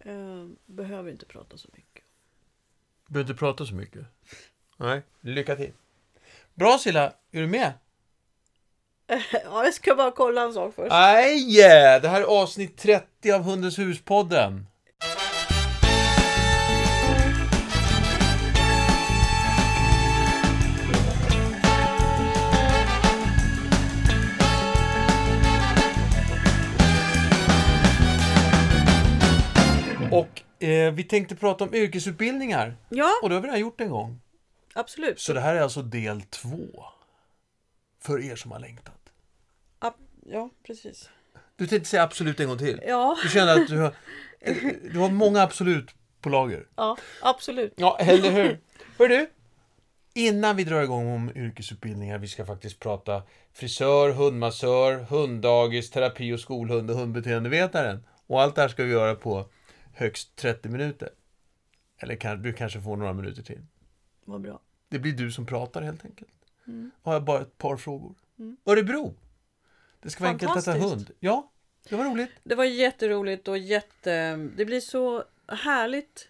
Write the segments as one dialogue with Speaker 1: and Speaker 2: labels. Speaker 1: Ehm, behöver inte prata så mycket.
Speaker 2: Behöver inte prata så mycket. Nej. Lycka till. Bra Silla, är du med?
Speaker 1: ja, jag ska bara kolla en sak först.
Speaker 2: Nej! Det här är avsnitt 30 av Hundens hus-podden. Och eh, vi tänkte prata om yrkesutbildningar.
Speaker 1: Ja,
Speaker 2: Och det har vi redan gjort en gång.
Speaker 1: absolut.
Speaker 2: Så det här är alltså del två. För er som har längtat.
Speaker 1: Ab- ja, precis.
Speaker 2: Du tänkte säga absolut en gång till.
Speaker 1: Ja,
Speaker 2: Du känner att du har, du har många absolut på lager.
Speaker 1: ja absolut.
Speaker 2: Ja, eller hur? Hör du? Innan vi drar igång om yrkesutbildningar, vi ska faktiskt prata frisör, hundmassör, hunddagis, terapi och skolhund och hundbeteendevetaren. Och allt det här ska vi göra på högst 30 minuter. Eller kan, du kanske får några minuter till.
Speaker 1: Vad bra.
Speaker 2: Det blir du som pratar helt enkelt.
Speaker 1: Mm.
Speaker 2: Har jag bara ett par frågor. Örebro! Det ska vara enkelt att ha
Speaker 1: Fantastiskt.
Speaker 2: hund. Ja, det var roligt.
Speaker 1: Det var jätteroligt och jätte... Det blir så härligt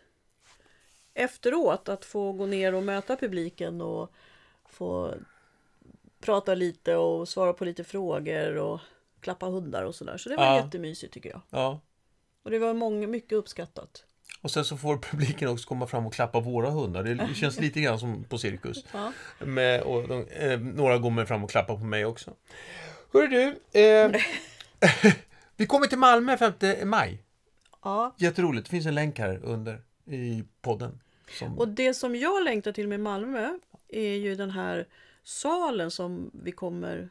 Speaker 1: efteråt att få gå ner och möta publiken och få prata lite och svara på lite frågor och klappa hundar och sådär. Så det var
Speaker 2: Ja.
Speaker 1: jättemysigt tycker jag.
Speaker 2: Ja.
Speaker 1: Och det var många, mycket uppskattat.
Speaker 2: Och sen så får publiken också komma fram och klappa våra hundar. Det känns lite grann som på cirkus.
Speaker 1: Ja.
Speaker 2: Med, och de, eh, några går med fram och klappar på mig också. Hörru du, eh, vi kommer till Malmö 5 maj.
Speaker 1: ja.
Speaker 2: Jätteroligt, det finns en länk här under i podden. Som,
Speaker 1: Och det som jag längtar till med Malmö är ju den här salen som vi kommer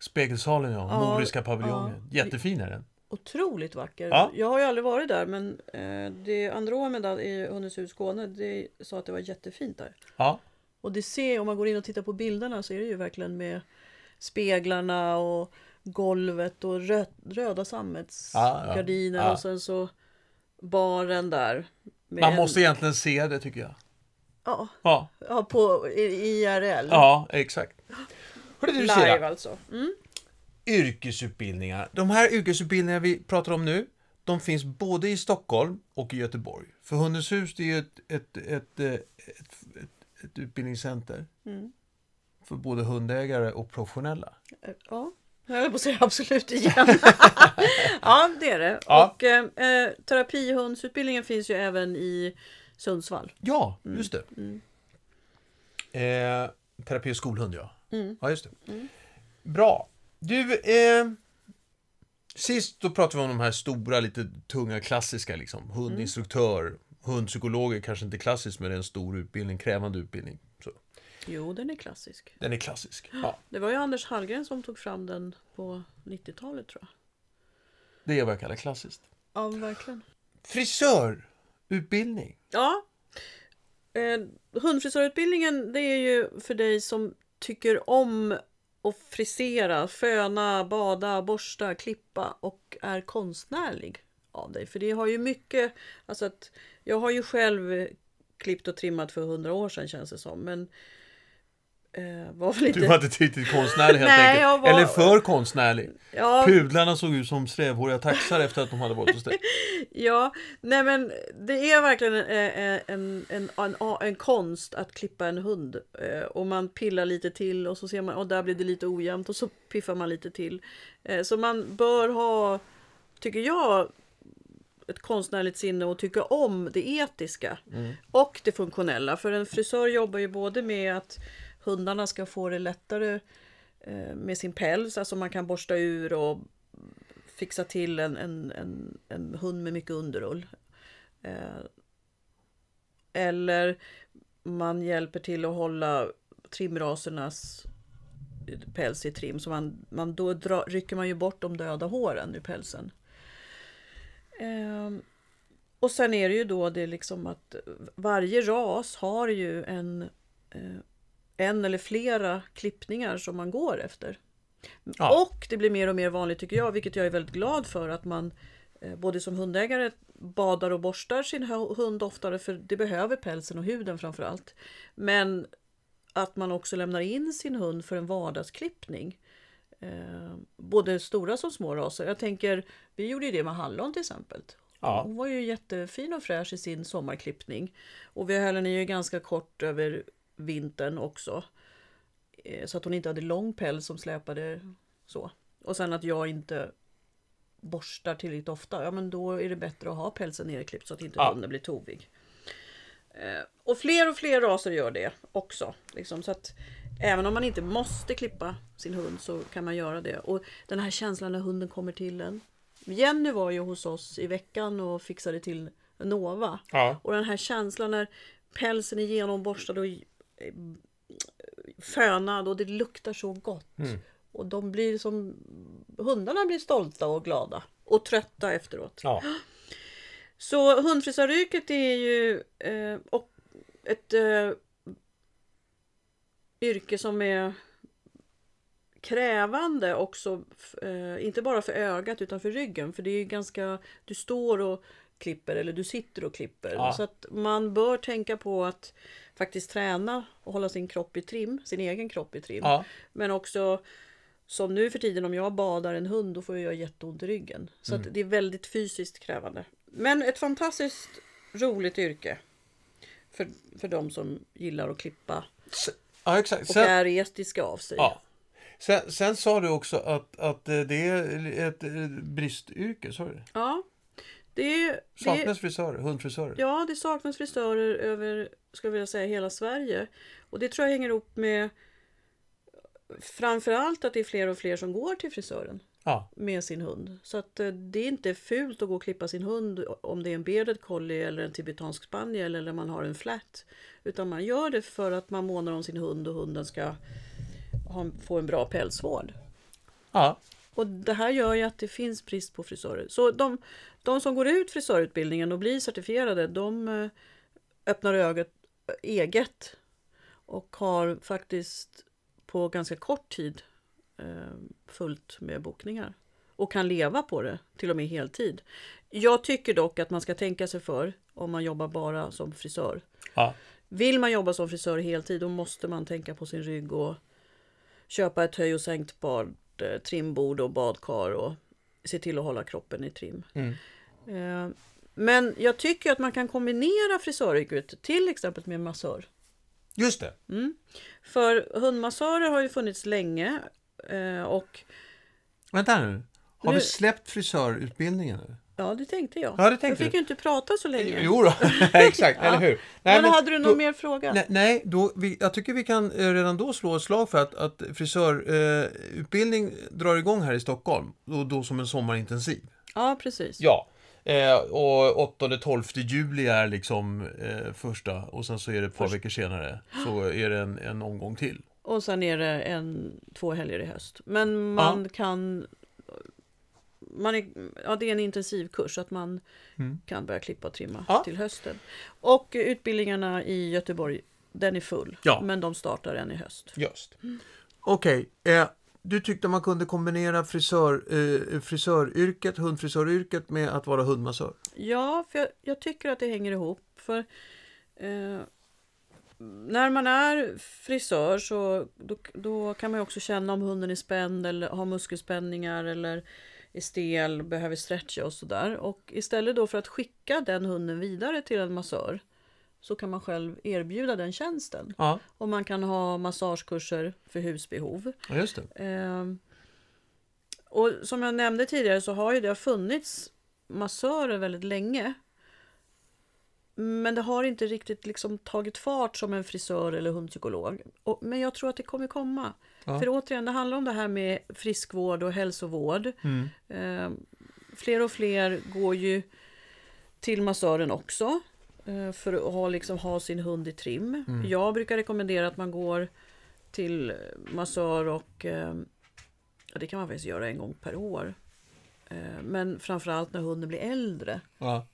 Speaker 2: Spegelsalen ja,
Speaker 1: Ja,
Speaker 2: Nordiska paviljongen.
Speaker 1: ja.
Speaker 2: Jättefin är den.
Speaker 1: Otroligt vacker.
Speaker 2: Ja.
Speaker 1: Jag har ju aldrig varit där men eh, det Andromeda i Hundens hus Skåne det sa att det var jättefint där.
Speaker 2: Ja,
Speaker 1: Och det ser, om man går in och tittar på bilderna så är det ju verkligen med speglarna och golvet och rö- röda
Speaker 2: Ja, ja.
Speaker 1: sammetsgardiner
Speaker 2: Ja.
Speaker 1: och sen så baren där. med
Speaker 2: man
Speaker 1: en-
Speaker 2: måste egentligen se det tycker jag.
Speaker 1: Ja,
Speaker 2: Ja,
Speaker 1: ja på i- IRL.
Speaker 2: ja exakt. Hörru du Sira.
Speaker 1: Live alltså. Mm.
Speaker 2: yrkesutbildningar. De här yrkesutbildningar vi pratar om nu, de finns både i Stockholm och i Göteborg. För Hundens hus det är ju ett, ett, ett, eh, ett, ett, ett utbildningscenter
Speaker 1: Mm.
Speaker 2: för både hundägare och professionella.
Speaker 1: Ja, jag höll på att säga absolut igen. ja, det är det.
Speaker 2: Ja.
Speaker 1: Och eh, eh, terapihundsutbildningen finns ju även i Sundsvall.
Speaker 2: Ja,
Speaker 1: Mm.
Speaker 2: just det. Eh, terapi och skolhund, ja.
Speaker 1: Mm.
Speaker 2: Ja, just det. Bra. Du, eh, sist då pratade vi om de här stora, lite tunga, klassiska liksom.
Speaker 1: Mm.
Speaker 2: Hundinstruktör, hundpsykologer, kanske inte klassiskt, men det är en stor utbildning, krävande utbildning. Så.
Speaker 1: Jo, den är klassisk.
Speaker 2: Den är klassisk. Ja,
Speaker 1: Det var ju Anders Hallgren som tog fram den på 90-talet tror jag.
Speaker 2: det är vad jag kallar klassiskt.
Speaker 1: Ja, verkligen.
Speaker 2: Frisörutbildning.
Speaker 1: Ja. Eh, hundfrisörutbildningen, det är ju för dig som tycker om att frisera, föna, bada, borsta, klippa och är konstnärlig av dig. För det har ju mycket, alltså att jag har ju själv klippt och trimmat för hundra år sedan känns det som, men eh, var väl
Speaker 2: Du
Speaker 1: inte...
Speaker 2: var inte riktigt konstnärlig helt
Speaker 1: Nej, jag
Speaker 2: enkelt.
Speaker 1: var-
Speaker 2: Eller för konstnärlig.
Speaker 1: Ja,
Speaker 2: Pudlarna såg ut som strävhåriga taxar efter att de hade varit hos dig.
Speaker 1: Ja, nej men det är verkligen en, en, en, en, en konst att klippa en hund. Eh, Och man pillar lite till och så ser man, och där blir det lite ojämnt och så piffar man lite till. Eh, Så man bör ha, tycker jag, ett konstnärligt sinne och tycka om det etiska och det funktionella. För en frisör jobbar ju både med att hundarna ska få det lättare eh, med sin päls, alltså man kan borsta ur och fixa till en, en, en, en hund med mycket underull. Eh, eller man hjälper till att hålla trimrasernas päls i trim. Så man, man, då dra, rycker man ju bort de döda håren ur pälsen. Ehm, och sen är det ju då det liksom att varje ras har ju en, eh, en eller flera klippningar som man går efter.
Speaker 2: Ja.
Speaker 1: Och det blir mer och mer vanligt tycker jag, vilket jag är väldigt glad för, att man eh, både som hundägare badar och borstar sin hu- hund oftare, för det behöver pälsen och huden framför allt. Men att man också lämnar in sin hund för en vardagsklippning. Eh, både stora som små raser. Jag tänker, vi gjorde ju det med hallon till exempel.
Speaker 2: Ja.
Speaker 1: Hon var ju jättefin och fräsch i sin sommarklippning. Och vi höll henne ju ganska kort över vintern också. Eh, Så att hon inte hade lång päls som släpade så. Och sen att jag inte borstar tillräckligt ofta, ja men då är det bättre att ha pälsen nerklippt så att inte
Speaker 2: Ja.
Speaker 1: hunden blir tovig. Eh, Och fler och fler raser gör det också. Liksom, så att även om man inte måste klippa sin hund så kan man göra det. Och den här känslan när hunden kommer till en. Jenny var ju hos oss i veckan och fixade till Nova.
Speaker 2: Ja.
Speaker 1: Och den här känslan när pälsen är genomborstad och eh, fönad och det luktar så gott. Och de blir som hundarna blir stolta och glada och trötta efteråt.
Speaker 2: Ja.
Speaker 1: Så hundfrisöryrket är ju eh, och ett eh, yrke som är krävande också, f- eh, inte bara för ögat utan för ryggen. För det är ju ganska, du står och klipper eller du sitter och klipper.
Speaker 2: Ja.
Speaker 1: Så att man bör tänka på att faktiskt träna och hålla sin kropp i trim, sin egen kropp i trim.
Speaker 2: Ja.
Speaker 1: Men också som nu för tiden om jag badar en hund då får jag jätteont i ryggen. Så
Speaker 2: Mm.
Speaker 1: att det är väldigt fysiskt krävande. Men ett fantastiskt roligt yrke. För, för de som gillar att klippa
Speaker 2: S- ja, exakt.
Speaker 1: och
Speaker 2: Sen,
Speaker 1: är etiska av sig.
Speaker 2: ja. sen, sen sa du också att, att eh, det är ett eh, bristyrke. Sa du det?
Speaker 1: Ja. Det, det,
Speaker 2: Saknas frisörer? Hundfrisörer?
Speaker 1: Ja, det saknas frisörer över, ska jag vilja säga, hela Sverige. Och det tror jag hänger ihop med framförallt att det är fler och fler som går till frisören.
Speaker 2: Ja.
Speaker 1: med sin hund. Så att eh, det är inte fult att gå och klippa sin hund om det är en bearded collie eller en tibetansk spaniel eller man har en flat. Utan man gör det för att man månar om sin hund och hunden ska ha, få en bra pälsvård.
Speaker 2: ja.
Speaker 1: Och det här gör ju att det finns brist på frisörer. Så de, de som går ut frisörutbildningen och blir certifierade, de eh, öppnar ögat, eget och har faktiskt på ganska kort tid eh, fullt med bokningar och kan leva på det, till och med heltid. Jag tycker dock att man ska tänka sig för om man jobbar bara som frisör.
Speaker 2: ja.
Speaker 1: Vill man jobba som frisör heltid då måste man tänka på sin rygg och köpa ett höj och sänkbart eh, trimbord och badkar och se till att hålla kroppen i trim.
Speaker 2: Mm.
Speaker 1: Eh, Men jag tycker att man kan kombinera frisöryrket till exempel med massör.
Speaker 2: Just det.
Speaker 1: För hundmassörer har ju funnits länge eh, och
Speaker 2: Vänta nu. Har
Speaker 1: Nu-
Speaker 2: vi släppt frisörutbildningen nu?
Speaker 1: ja, det tänkte jag.
Speaker 2: Ja, det tänkte
Speaker 1: jag fick
Speaker 2: du.
Speaker 1: ju inte prata så länge.
Speaker 2: Jo då, exakt, eller hur?
Speaker 1: men, hade du någon
Speaker 2: då-
Speaker 1: mer fråga?
Speaker 2: Nej, nej då, vi, jag tycker vi kan eh, redan då slå ett slag för att, att frisörutbildning eh, utbildning drar igång här i Stockholm. Då, då som en sommarintensiv.
Speaker 1: Ja, precis.
Speaker 2: Ja, eh, och 8-12 juli är liksom eh, första och sen så är det ett par veckor senare så är det en, en omgång till.
Speaker 1: Och sen är det en, två helger i höst. Men man kan... Man är, ja, det är en intensivkurs, så att man kan börja klippa och trimma
Speaker 2: Mm. Ja.
Speaker 1: till hösten. Och utbildningarna i Göteborg, den är full.
Speaker 2: Ja.
Speaker 1: Men de startar en i höst.
Speaker 2: Just. Okej, eh, du tyckte man kunde kombinera frisör, eh, frisöryrket, hundfrisöryrket med att vara hundmassör?
Speaker 1: Ja, för jag, jag tycker att det hänger ihop. För eh, När man är frisör så då, då kan man ju också känna om hunden är spänd eller har muskelspänningar eller är stel, behöver stretcha och sådär. Och istället då för att skicka den hunden vidare till en massör så kan man själv erbjuda den tjänsten.
Speaker 2: Ja,
Speaker 1: Och man kan ha massagekurser för husbehov.
Speaker 2: ja just det.
Speaker 1: Ehm, och som jag nämnde tidigare så har ju det funnits massörer väldigt länge. Men det har inte riktigt liksom tagit fart som en frisör eller hundpsykolog. Och, men jag tror att det kommer komma.
Speaker 2: Ja.
Speaker 1: För återigen, det handlar om det här med friskvård och hälsovård. Ehm, fler och fler går ju till massören också. eh, För att ha, liksom, ha sin hund i trim. Jag brukar rekommendera att man går till massör och eh, ja, det kan man faktiskt göra en gång per år. Eh, Men framförallt när hunden blir äldre.
Speaker 2: Ja.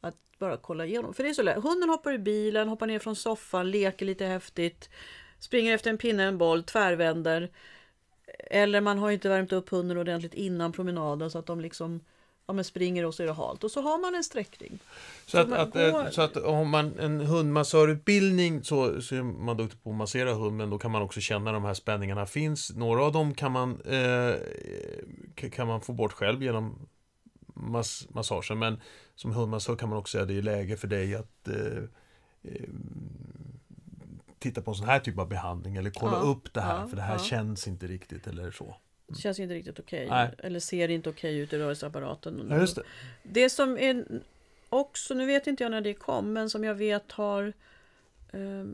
Speaker 1: Att bara kolla igenom. För det är så lätt. Hunden hoppar i bilen, hoppar ner från soffan, leker lite häftigt. Springer efter en pinne, en boll, tvärvänder. Eller man har ju inte värmt upp hunden ordentligt innan promenaden så att de liksom ja, men springer och så är det halt. Och så har man en sträckning.
Speaker 2: Så, att,
Speaker 1: man
Speaker 2: att, eh,
Speaker 1: går-
Speaker 2: så att om man en hundmassörutbildning så, så är man duktig på att massera hund men då kan man också känna de här spänningarna finns. Några av dem kan man, eh, k- kan man få bort själv genom mas- massagen. Men som hundmassör kan man också säga det är läge för dig att eh, eh, titta på en sån här typ av behandling eller kolla
Speaker 1: Ja,
Speaker 2: upp det här
Speaker 1: ja,
Speaker 2: för det här
Speaker 1: ja. Mm.
Speaker 2: känns inte riktigt eller så.
Speaker 1: Det känns ju inte riktigt okej.
Speaker 2: Nej.
Speaker 1: Eller ser inte okej ut i rörelseapparaten.
Speaker 2: Ja, just det.
Speaker 1: Det som är också, nu vet inte jag när det kom, men som jag vet har eh,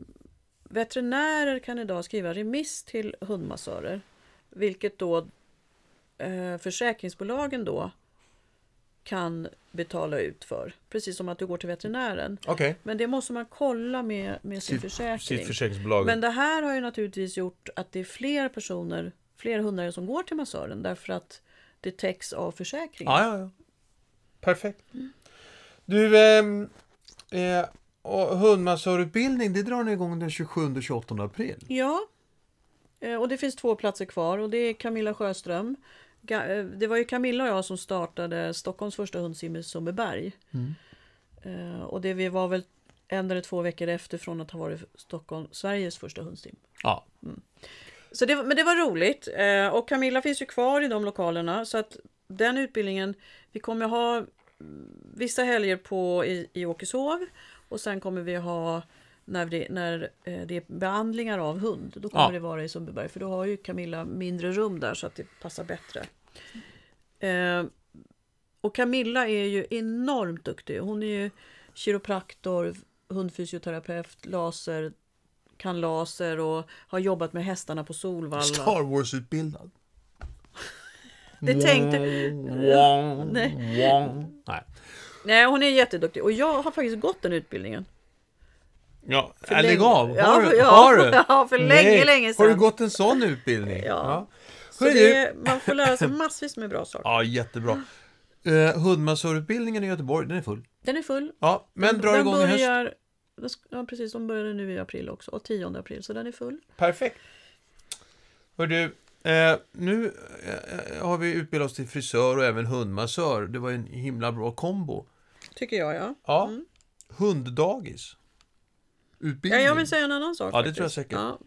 Speaker 1: veterinärer kan idag skriva remiss till hundmassörer. Vilket då eh, försäkringsbolagen då kan betala ut för. Precis som att du går till veterinären.
Speaker 2: Okej.
Speaker 1: Men det måste man kolla med, med sin försäkring.
Speaker 2: Sitt försäkringsbolag.
Speaker 1: Men det här har ju naturligtvis gjort att det är fler personer, fler hundar som går till massören därför att det täcks av försäkringen.
Speaker 2: Ja, ja, ja. Perfekt. Du, ehm, eh, och hundmassörutbildning, det drar ni igång den 27-28 april.
Speaker 1: Ja. Eh, Och det finns två platser kvar och det är Camilla Sjöström. Ga- eh, Det var ju Camilla och jag som startade Stockholms första hundsim i Sundbyberg. Eh, Och det vi var väl en eller två veckor efter från att ha varit Stockholm, Sveriges första hundsim.
Speaker 2: Ja.
Speaker 1: Så det, var- men det var roligt eh, och Camilla finns ju kvar i de lokalerna så att den utbildningen, vi kommer ha mm, vissa helger på i, i Åkeshov och sen kommer vi ha när det, när eh, det är behandlingar av hund, då kommer
Speaker 2: Ja.
Speaker 1: det vara i Sundbyberg för då har ju Camilla mindre rum där så att det passar bättre. Eh, och Camilla är ju enormt duktig. Hon är ju kiropraktor, hundfysioterapeut, laser, kan laser och har jobbat med hästarna på Solvalla.
Speaker 2: Star Wars-utbildad.
Speaker 1: Det tänkte-
Speaker 2: Wong,
Speaker 1: Nej.
Speaker 2: wong. Nej.
Speaker 1: Nej, hon är jätteduktig och jag har faktiskt gått den utbildningen.
Speaker 2: Ja,
Speaker 1: För
Speaker 2: äh, lägg
Speaker 1: länge-
Speaker 2: av. Har
Speaker 1: Ja,
Speaker 2: du?
Speaker 1: ja,
Speaker 2: har du?
Speaker 1: ja, för länge,
Speaker 2: Nej.
Speaker 1: länge
Speaker 2: Har du
Speaker 1: sedan.
Speaker 2: gått en sån utbildning?
Speaker 1: Ja. Så
Speaker 2: Hörru du.
Speaker 1: det, man får lära sig massvis med bra saker.
Speaker 2: Ja, jättebra. Eh, hundmassörutbildningen i Göteborg, den är full.
Speaker 1: Den är full.
Speaker 2: Ja, men drar
Speaker 1: den
Speaker 2: igång i höst.
Speaker 1: börjar, den sk- Ja, precis. De började nu i april också, och 10 april, så den är full.
Speaker 2: Perfekt. Hör du, eh, nu eh, har vi utbildat oss till frisör och även hundmassör. Det var en himla bra kombo.
Speaker 1: Tycker jag, ja.
Speaker 2: Ja. Hunddagis. Utbildning.
Speaker 1: Ja, jag vill säga en annan sak.
Speaker 2: Ja, det tror jag
Speaker 1: faktiskt.
Speaker 2: säkert.
Speaker 1: Ja.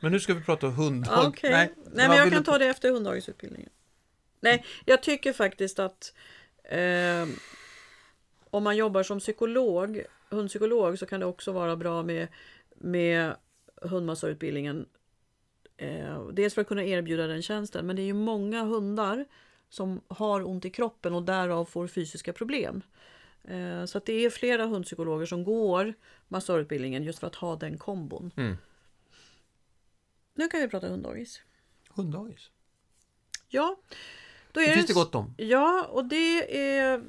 Speaker 2: Men nu ska vi prata om hunddag.
Speaker 1: Ja, Okej. Nej, men
Speaker 2: vad
Speaker 1: jag
Speaker 2: vill
Speaker 1: kan
Speaker 2: du-
Speaker 1: ta det efter hunddagisutbildningen. Nej, jag tycker faktiskt att eh, om man jobbar som psykolog, hundpsykolog, så kan det också vara bra med, med hundmassörutbildningen. Eh, dels för att kunna erbjuda den tjänsten, men det är ju många hundar som har ont i kroppen och därav får fysiska problem. Eh, så att det är flera hundpsykologer som går massörutbildningen just för att ha den kombon.
Speaker 2: Mm.
Speaker 1: Nu kan vi prata hunddagis.
Speaker 2: Hunddagis.
Speaker 1: Ja, då är
Speaker 2: Det
Speaker 1: det,
Speaker 2: finns det gott om.
Speaker 1: Ja, och det är...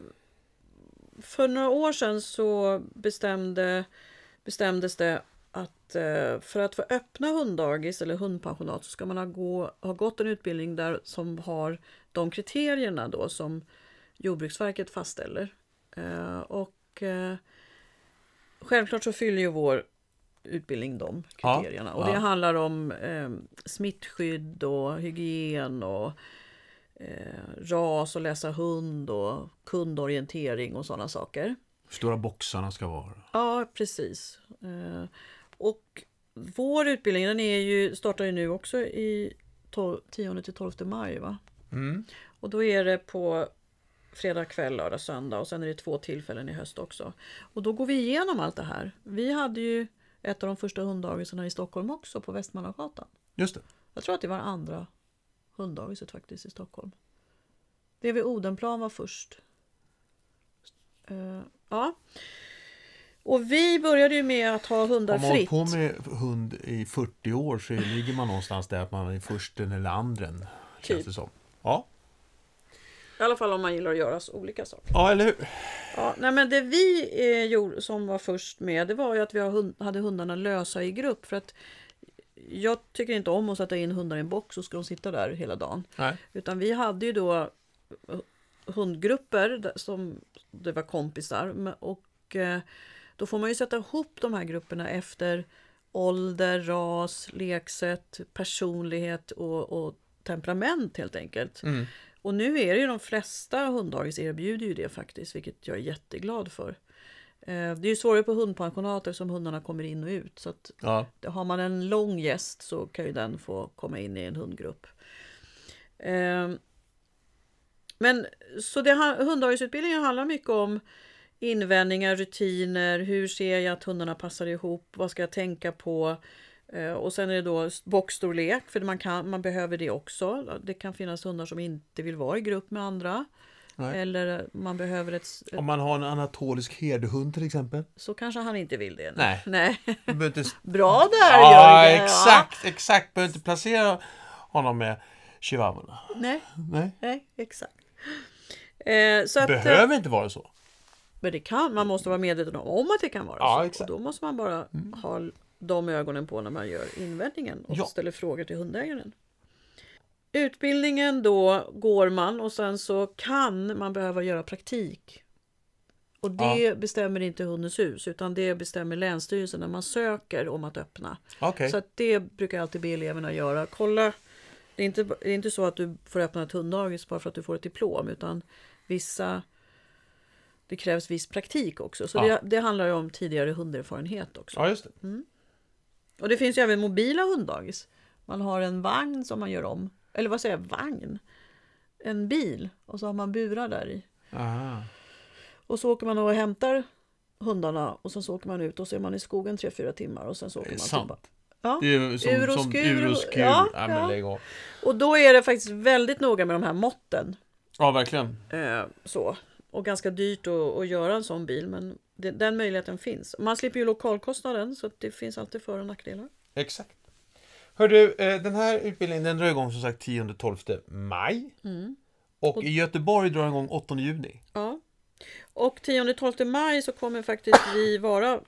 Speaker 1: För några år sedan så bestämde, bestämdes det att eh, för att få öppna hunddagis eller hundpensionat så ska man ha, gå, ha gått en utbildning där som har de kriterierna då som Jordbruksverket fastställer. Eh, Och eh, självklart så fyller ju vår utbildning de
Speaker 2: Ja,
Speaker 1: kriterierna. Och det
Speaker 2: ja.
Speaker 1: handlar om eh, smittskydd och hygien och eh, ras och läsa hund och kundorientering och sådana saker.
Speaker 2: Hur stora boxarna ska vara.
Speaker 1: Ja, precis. Eh, och vår utbildning den är ju, startar ju nu också i 10-12 maj. Va?
Speaker 2: Mm.
Speaker 1: Och då är det på fredag kväll, lördag, söndag och sen är det två tillfällen i höst också. Och då går vi igenom allt det här. Vi hade ju ett av de första hunddagisarna i Stockholm också på Västmannagatan.
Speaker 2: Just det.
Speaker 1: Jag tror att det var andra hunddagiset faktiskt i Stockholm. Det vid Odenplan var först. Eh, ja. Och vi började ju med att ha hundar
Speaker 2: Om man hållit
Speaker 1: fritt.
Speaker 2: på med hund i 40 år så ligger man någonstans där att man är försten eller andren. Känns
Speaker 1: Typ.
Speaker 2: det som. Ja.
Speaker 1: I alla fall om man gillar att göra så olika saker.
Speaker 2: ja, eller hur?
Speaker 1: Ja, nej men det vi eh, gjorde, som var först med det var ju att vi har hund, hade hundarna lösa i grupp. För att jag tycker inte om att sätta in hundar i en box och ska de sitta där hela dagen.
Speaker 2: Nej.
Speaker 1: Utan vi hade ju då eh, hundgrupper där- som det var kompisar men- och eh, då får man ju sätta ihop de här grupperna efter ålder, ras, leksätt, personlighet och, och temperament helt enkelt.
Speaker 2: Mm.
Speaker 1: Och nu är det ju de flesta hunddagis erbjuder ju det faktiskt, vilket jag är jätteglad för. Eh, Det är ju svårare på hundpensionat eftersom hundarna kommer in och ut. Så att
Speaker 2: Ja.
Speaker 1: har man en lång gäst så kan ju den få komma in i en hundgrupp. Ehm, Men så det, ha- hunddagis-utbildningen handlar mycket om invändningar, rutiner, hur ser jag att hundarna passar ihop, vad ska jag tänka på? Eh, Och sen är det då boxstorlek, för man, kan, man behöver det också. Det kan finnas hundar som inte vill vara i grupp med andra.
Speaker 2: Nej.
Speaker 1: Eller eh, man behöver ett... s-
Speaker 2: Om man har en anatolisk herdehund till exempel.
Speaker 1: Så kanske han inte vill det.
Speaker 2: Nej. Du behöver inte...
Speaker 1: Bra där
Speaker 2: Ja,
Speaker 1: Jörgen!
Speaker 2: exakt, exakt. Behöver inte placera honom med chihuahuorna.
Speaker 1: Ja. Nej,
Speaker 2: Nej.
Speaker 1: nej, exakt. Eh, så att, eh,
Speaker 2: Behöver inte vara så.
Speaker 1: Men det kan, man måste vara medveten om, om att det kan vara
Speaker 2: Ja,
Speaker 1: så.
Speaker 2: exakt. Mm.
Speaker 1: Och då måste man bara ha de ögonen på när man gör invändningen och
Speaker 2: Ja.
Speaker 1: ställer frågor till hundägaren. Utbildningen då går man och sen så kan man behöva göra praktik. Och det bestämmer inte Hundens hus utan det bestämmer Länsstyrelsen när man söker om att öppna.
Speaker 2: Okej.
Speaker 1: Så att det brukar jag alltid be eleverna göra. Kolla, det är, inte, det är inte så att du får öppna ett hunddagis bara för att du får ett diplom utan vissa det krävs viss praktik också. Så
Speaker 2: Ja.
Speaker 1: det, det handlar ju om tidigare hunderfarenhet också.
Speaker 2: Ja, just det.
Speaker 1: Och det finns ju även mobila hunddagis. Man har en vagn som man gör om. Eller vad säger jag? Vagn? En bil. Och så har man burar där i.
Speaker 2: Aha.
Speaker 1: Och så åker man och hämtar hundarna och sen så åker man ut och så är man i skogen 3-4 timmar och sen så åker
Speaker 2: Det är
Speaker 1: man
Speaker 2: sant.
Speaker 1: tillbaka. Ja.
Speaker 2: Det är som,
Speaker 1: Ur och
Speaker 2: som
Speaker 1: skur.
Speaker 2: ur och skur.
Speaker 1: Ja,
Speaker 2: Nej, men
Speaker 1: ja.
Speaker 2: lägg av.
Speaker 1: Och då är det faktiskt väldigt noga med de här måtten.
Speaker 2: Ja, verkligen.
Speaker 1: Eh, så. Och ganska dyrt att, att göra en sån bil men det, den möjligheten finns. Man slipper ju lokalkostnaden så att det finns alltid för och nackdelar.
Speaker 2: Exakt. Hör du, eh, den här utbildningen den drar igång som sagt 10-12 maj.
Speaker 1: Mm.
Speaker 2: Och, i Göteborg drar den igång 8 juni.
Speaker 1: Ja. Och 10-12 maj så kommer faktiskt vi vara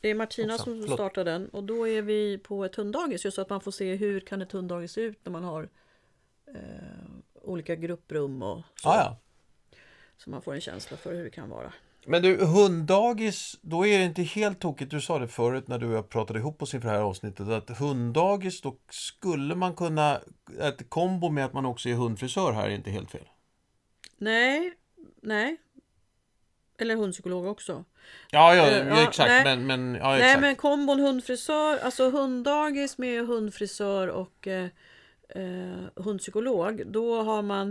Speaker 1: det är Martina
Speaker 2: Hoppsan,
Speaker 1: som
Speaker 2: förlåt.
Speaker 1: startar den och då är vi på ett hunddagis just så att man får se hur kan ett hunddagis se ut när man har eh, olika grupprum och så.
Speaker 2: Ah, ja.
Speaker 1: Så man får en känsla för hur det kan vara.
Speaker 2: Men du, hunddagis, då är det inte helt tokigt. Du sa det förut när du och jag pratade ihop oss inför det här avsnittet. Att hunddagis, då skulle man kunna... Ett kombo med att man också är hundfrisör här är inte helt fel.
Speaker 1: Nej, nej. Eller hundpsykolog också.
Speaker 2: Ja, ja,
Speaker 1: Eh, ja,
Speaker 2: exakt.
Speaker 1: nej.
Speaker 2: Men, men, ja,
Speaker 1: Nej
Speaker 2: exakt.
Speaker 1: men kombon hundfrisör, alltså hunddagis med hundfrisör och eh, eh, hundpsykolog. Då har man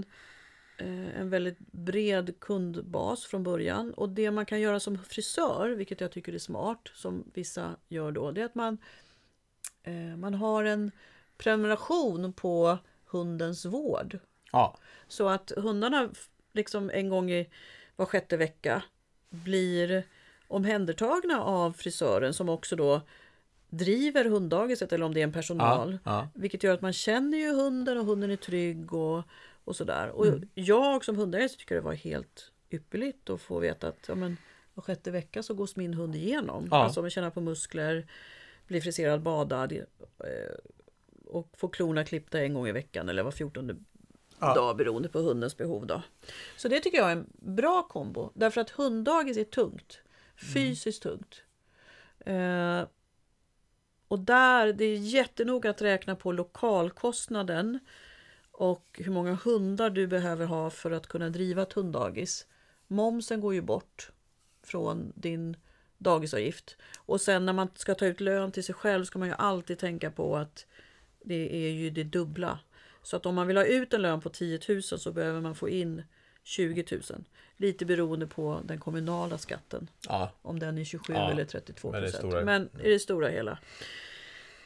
Speaker 1: eh, en väldigt bred kundbas från början. Och det man kan göra som frisör, vilket jag tycker är smart, som vissa gör då, det är att man, eh, man har en prenumeration på hundens vård.
Speaker 2: Ja.
Speaker 1: Så att hundarna f- liksom en gång i var sjätte vecka blir omhändertagna av frisören som också då driver hunddagiset eller om det är en personal.
Speaker 2: Ja, ja.
Speaker 1: Vilket gör att man känner ju hunden och hunden är trygg och, och sådär. Och
Speaker 2: Mm.
Speaker 1: jag som hundägare så tycker det var helt ypperligt att få veta att ja, men, var sjätte vecka så gås min hund igenom.
Speaker 2: Ja.
Speaker 1: Alltså man känner på muskler, blir friserad, badad eh, och får klorna klippta en gång i veckan eller var fjortonde dag beroende på hundens behov. Då. Så det tycker jag är en bra kombo. Därför att hunddagis är tungt. Fysiskt tungt. Eh, och där, det är jättenoga att räkna på lokalkostnaden och hur många hundar du behöver ha för att kunna driva ett hunddagis. Momsen går ju bort från din dagisavgift. Och sen när man ska ta ut lön till sig själv ska man ju alltid tänka på att det är ju det dubbla. Så att om man vill ha ut en lön på 10 000 så behöver man få in 20 000. Lite beroende på den kommunala skatten
Speaker 2: ja.
Speaker 1: om den är 27
Speaker 2: Ja,
Speaker 1: eller 32
Speaker 2: men det är
Speaker 1: procent.
Speaker 2: stora-
Speaker 1: Men i det stora hela.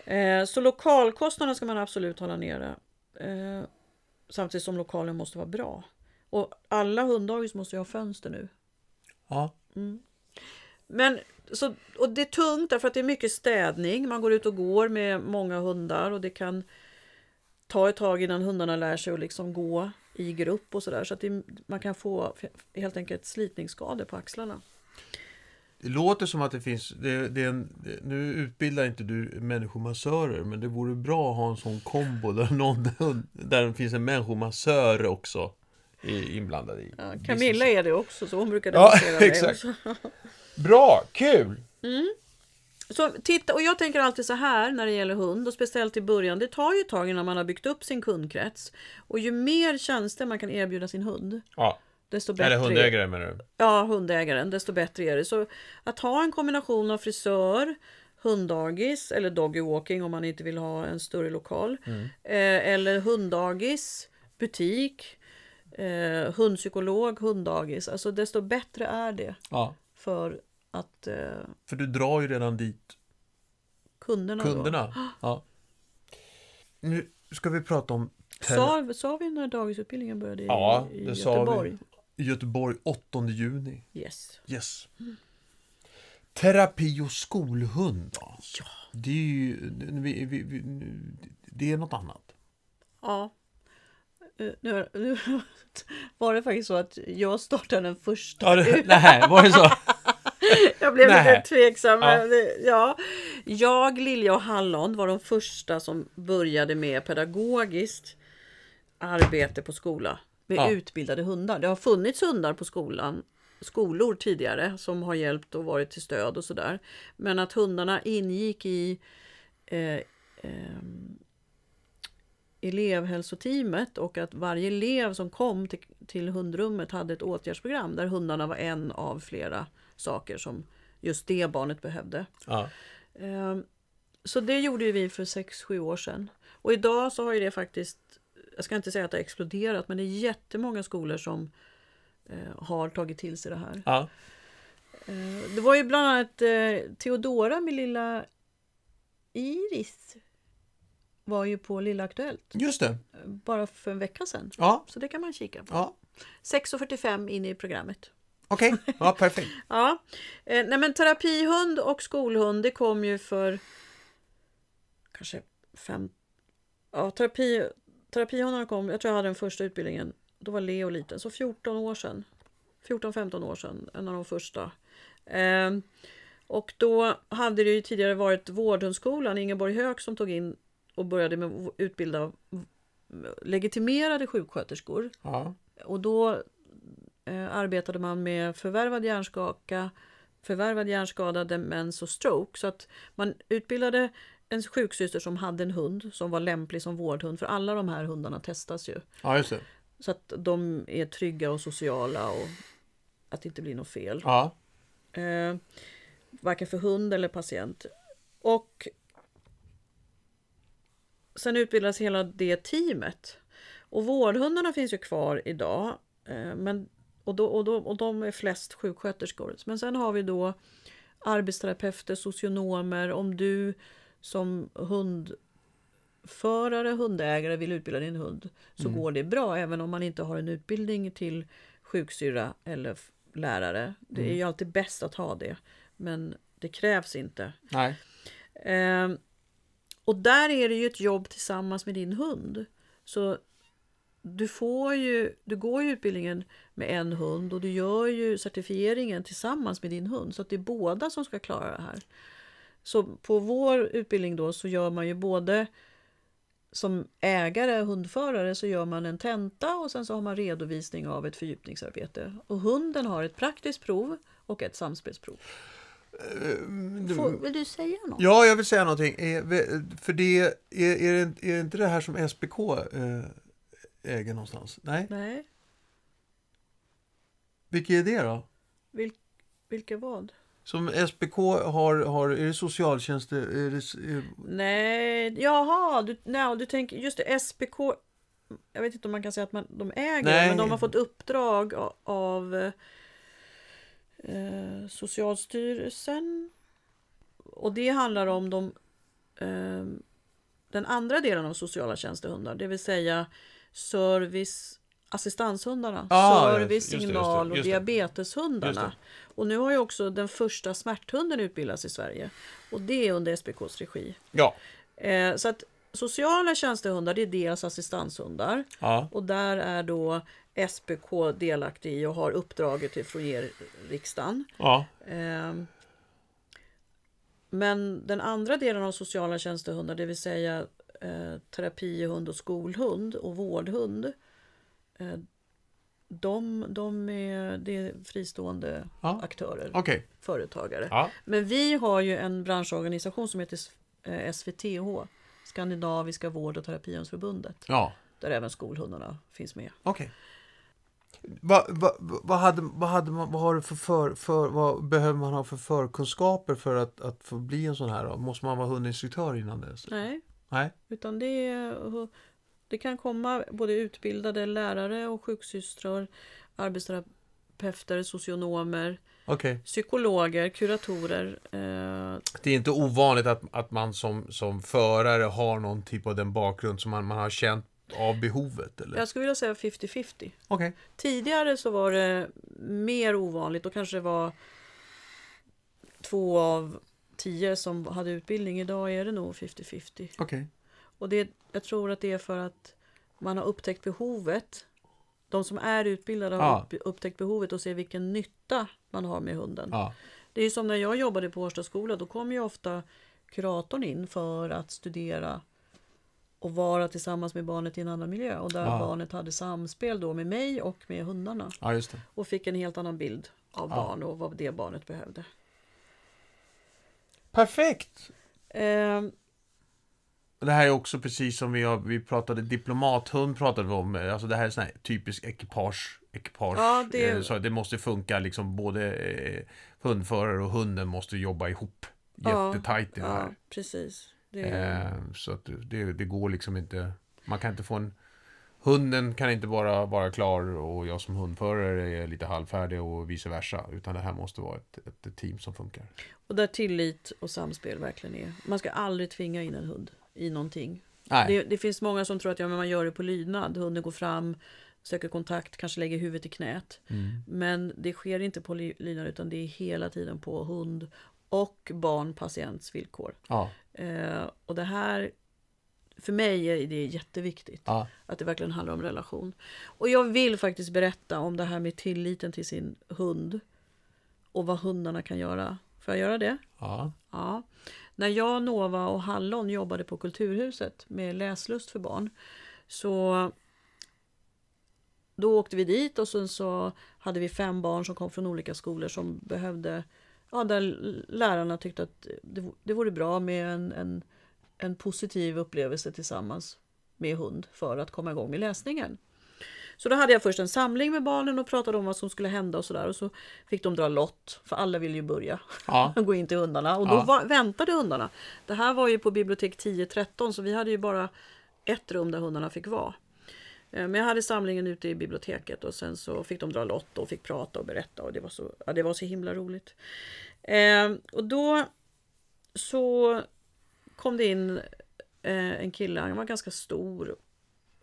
Speaker 1: Eh, så lokalkostnaderna ska man absolut hålla nere. Eh, samtidigt som lokalen måste vara bra. Och alla hunddagis måste ju ha fönster nu.
Speaker 2: ja.
Speaker 1: Men, så, och det är tungt därför att det är mycket städning. Man går ut och går med många hundar och det kan ta ett tag innan hundarna lär sig att liksom gå i grupp och sådär. Så att det, man kan få helt enkelt slitningsskador på axlarna.
Speaker 2: Det låter som att det finns, det, det är en, det- nu utbildar inte du människomassörer, men det vore bra att ha en sån kombo där, någon, där det finns en människomassör också i- inblandad i.
Speaker 1: Ja, Camilla är det också, så hon brukar
Speaker 2: Ja,
Speaker 1: debattera mig
Speaker 2: exakt.
Speaker 1: också.
Speaker 2: Bra, kul!
Speaker 1: Så titta, och jag tänker alltid så här när det gäller hund och speciellt i början. Det tar ju ett tag innan man har byggt upp sin kundkrets. Och ju mer tjänster man kan erbjuda sin hund,
Speaker 2: Ja,
Speaker 1: desto bättre.
Speaker 2: eller
Speaker 1: är-
Speaker 2: hundägare menar du?
Speaker 1: Ja, hundägaren, desto bättre är det. Så att ha en kombination av frisör, hunddagis eller doggy walking om man inte vill
Speaker 2: Mm.
Speaker 1: ha en större lokal. Eh, eller hunddagis, butik, eh, hundpsykolog, hunddagis. Alltså desto bättre är det
Speaker 2: Ja.
Speaker 1: för att eh,
Speaker 2: För du drar ju redan dit
Speaker 1: kunderna... då-
Speaker 2: kunderna. Ja. Nu ska vi prata om ter-
Speaker 1: Sa, sa vi när dagisutbildningen började i,
Speaker 2: Ja,
Speaker 1: i
Speaker 2: det sa
Speaker 1: Göteborg?
Speaker 2: vi. I Göteborg 8 juni.
Speaker 1: Yes.
Speaker 2: Yes. Terapi och skolhund då?
Speaker 1: Ja.
Speaker 2: Det är ju vi, vi, vi, det är något annat.
Speaker 1: Ja. Eh, Nu, nu var det faktiskt så att jag startade den första.
Speaker 2: nej, var det så?
Speaker 1: Jag blev
Speaker 2: Nej.
Speaker 1: lite tveksam.
Speaker 2: Ja.
Speaker 1: men det- Ja. Jag, Lilja och Hallon var de första som började med pedagogiskt arbete på skola med
Speaker 2: Ja.
Speaker 1: utbildade hundar. Det har funnits hundar på skolan, skolor tidigare som har hjälpt och varit till stöd och sådär. Men att hundarna ingick i eh, ehm, elevhälsoteamet och att varje elev som kom till, till hundrummet hade ett åtgärdsprogram där hundarna var en av flera saker som just det barnet behövde.
Speaker 2: Ja.
Speaker 1: Ehm, Så det gjorde ju vi för 6-7 år sedan. Och idag så har ju det faktiskt, jag ska inte säga att det har exploderat, men det är jättemånga skolor som eh, har tagit till sig det här.
Speaker 2: ja.
Speaker 1: Eh, Det var ju bland annat eh, Theodora, min lilla Iris, var ju på Lilla Aktuellt
Speaker 2: Just det.
Speaker 1: eh, bara för en vecka sedan.
Speaker 2: Ja.
Speaker 1: Så det kan man kika på.
Speaker 2: ja.
Speaker 1: 6.45 in i programmet.
Speaker 2: Okej. Ja, perfekt.
Speaker 1: Ja, eh, nej men terapihund och skolhund det kom ju för kanske fem... Ja, terapi, terapihundarna kom, jag tror jag hade den första utbildningen, då var Leo liten, så 14 år sedan. 14-15 år sedan, en av de första. Eh, och då hade det ju tidigare varit Vårdhundskolan, Ingeborg Höök som tog in och började med att utbilda legitimerade sjuksköterskor.
Speaker 2: Ja.
Speaker 1: Och då eh, arbetade man med förvärvad hjärnskaka, förvärvad hjärnskada, demens och stroke. Så att man utbildade en sjuksyster som hade en hund som var lämplig som vårdhund. För alla de här hundarna testas ju.
Speaker 2: ja, just det.
Speaker 1: Så att de är trygga och sociala och att det inte blir något fel.
Speaker 2: Ja.
Speaker 1: Eh, varken för hund eller patient. Och sen utbildas hela det teamet. Och vårdhundarna finns ju kvar idag. Eh, men, och, då, och, då, och de är flest sjuksköterskor. Men sen har vi då arbetsterapeuter, socionomer. Om du som hundförare, hundägare vill utbilda din hund så går det bra även om man inte har en utbildning till sjuksyra eller f- lärare. Det är ju alltid bäst att ha det. Men det krävs inte.
Speaker 2: Nej.
Speaker 1: Ehm, och där är det ju ett jobb tillsammans med din hund. Så du, får ju, du går ju utbildningen med en hund och du gör ju certifieringen tillsammans med din hund. Så att det är båda som ska klara det här. Så på vår utbildning då så gör man ju både som ägare, hundförare, så gör man en tenta och sen så har man redovisning av ett fördjupningsarbete. Och hunden har ett praktiskt prov och ett samspelsprov. Får, vill du säga något?
Speaker 2: Ja, jag vill säga någonting. Eh, vi- För det är, är, det, inte- är det inte det här som SPK eh, äger någonstans? Nej.
Speaker 1: Nej.
Speaker 2: Vilka är det då?
Speaker 1: Vil, vilka vad?
Speaker 2: Som SPK har, har är det socialtjänst? Är det, s- eh,
Speaker 1: Nej, jaha, du, nej, du tänker just det, SPK. Jag vet inte om man kan säga att man, de äger,
Speaker 2: Nej.
Speaker 1: men de har fått uppdrag a- av eh, Socialstyrelsen. Och det handlar om de, eh, den andra delen av sociala tjänstehundar, det vill säga service assistanshundarna,
Speaker 2: Ah, ja,
Speaker 1: service,
Speaker 2: just det, just det,
Speaker 1: signal och
Speaker 2: just det.
Speaker 1: diabeteshundarna.
Speaker 2: Just
Speaker 1: Och nu har ju också den första smärthunden utbildats i Sverige och det är under SPKs regi.
Speaker 2: ja.
Speaker 1: Eh, så att sociala tjänstehundar, det är dels assistanshundar
Speaker 2: ja.
Speaker 1: och där är då SPK delaktig i och har uppdraget från er riksdagen.
Speaker 2: Ja.
Speaker 1: Ehm, Men den andra delen av sociala tjänstehundar, det vill säga eh, terapihund och skolhund och vårdhund. Eh, de, de är, det är fristående
Speaker 2: Ja.
Speaker 1: aktörer,
Speaker 2: Okej.
Speaker 1: företagare.
Speaker 2: Ja.
Speaker 1: Men vi har ju en branschorganisation som heter eh, SVTH, Skandinaviska vård och terapihundsförbundet,
Speaker 2: Ja.
Speaker 1: där även skolhundarna finns med.
Speaker 2: Okej. Va, va, va- vad, hade, vad, hade man, vad, har du för för, för, vad behöver man ha för förkunskaper för att, att få bli en sån här? Då? Måste man vara hundinstruktör innan dess?
Speaker 1: Nej,
Speaker 2: Nej.
Speaker 1: utan det är hu- Det kan komma både utbildade lärare och sjuksystrar, arbetsterapeuter, socionomer,
Speaker 2: Okej.
Speaker 1: psykologer, kuratorer. Eh,
Speaker 2: Det är inte ovanligt att, att man som, som förare har någon typ av den bakgrund som man, man har känt av behovet. Eller?
Speaker 1: jag skulle vilja säga 50-50.
Speaker 2: Okej.
Speaker 1: Tidigare så var det mer ovanligt. Då kanske det var två av tio som hade utbildning. Idag är det nog 50-50.
Speaker 2: Okej.
Speaker 1: Och det, jag tror att det är för att man har upptäckt behovet. De som är utbildade har
Speaker 2: Ja.
Speaker 1: upp, upptäckt behovet och ser vilken nytta man har med hunden.
Speaker 2: Ja.
Speaker 1: Det är ju som när jag jobbade på Årsta skola, då kom ju ofta kuratorn in för att studera och vara tillsammans med barnet i en annan miljö och där
Speaker 2: Ja.
Speaker 1: barnet hade samspel då med mig och med hundarna
Speaker 2: ja, just det.
Speaker 1: och fick en helt annan bild av barn och vad det barnet behövde.
Speaker 2: Perfekt!
Speaker 1: Ehm,
Speaker 2: Det här är också precis som vi, har, vi pratade, diplomathund pratade vi om. Alltså det här är sån här typisk ekipage. ekipage
Speaker 1: Ja, det-
Speaker 2: eh, Så det måste funka liksom både eh, hundförare och hunden måste jobba ihop.
Speaker 1: Ja,
Speaker 2: Jättetajt i det här.
Speaker 1: ja, precis. Det, Mm.
Speaker 2: Eh, så att det, det går liksom inte. Man kan inte få en... Hunden kan inte bara vara klar och jag som hundförare är lite halvfärdig och vice versa. Utan det här måste vara ett, ett team som funkar.
Speaker 1: Och där tillit och samspel verkligen är. Man ska aldrig tvinga in en hund i någonting.
Speaker 2: Nej,
Speaker 1: Det, det finns många som tror att ja, men man gör det på lydnad. Hunden går fram, söker kontakt, kanske lägger huvudet i knät.
Speaker 2: Mm.
Speaker 1: Men det sker inte på ly- lydnad utan det är hela tiden på hund och barnpatients villkor.
Speaker 2: ja,
Speaker 1: Eh, och det här, för mig är det jätteviktigt.
Speaker 2: ja,
Speaker 1: Att det verkligen handlar om relation. Och jag vill faktiskt berätta om det här med tilliten till sin hund. Och vad hundarna kan göra. Får jag göra det?
Speaker 2: ja.
Speaker 1: Ja. När jag, Nova och Hallon jobbade på Kulturhuset med läslust för barn så då åkte vi dit och sen så hade vi fem barn som kom från olika skolor som behövde, ja, där lärarna tyckte att det, v- det vore bra med en, en, en positiv upplevelse tillsammans med hund för att komma igång med läsningen. Så då hade jag först en samling med barnen och pratade om vad som skulle hända och sådär och så fick de dra lott, för alla ville ju börja
Speaker 2: ja.
Speaker 1: gå in till hundarna. Och då
Speaker 2: Ja.
Speaker 1: var, väntade hundarna. Det här var ju på bibliotek 10-13 så vi hade ju bara ett rum där hundarna fick vara. Eh, Men jag hade samlingen ute i biblioteket och sen så fick de dra lott och fick prata och berätta och det var så, ja, det var så himla roligt. Eh, och då så kom det in eh, en kille, han var ganska stor,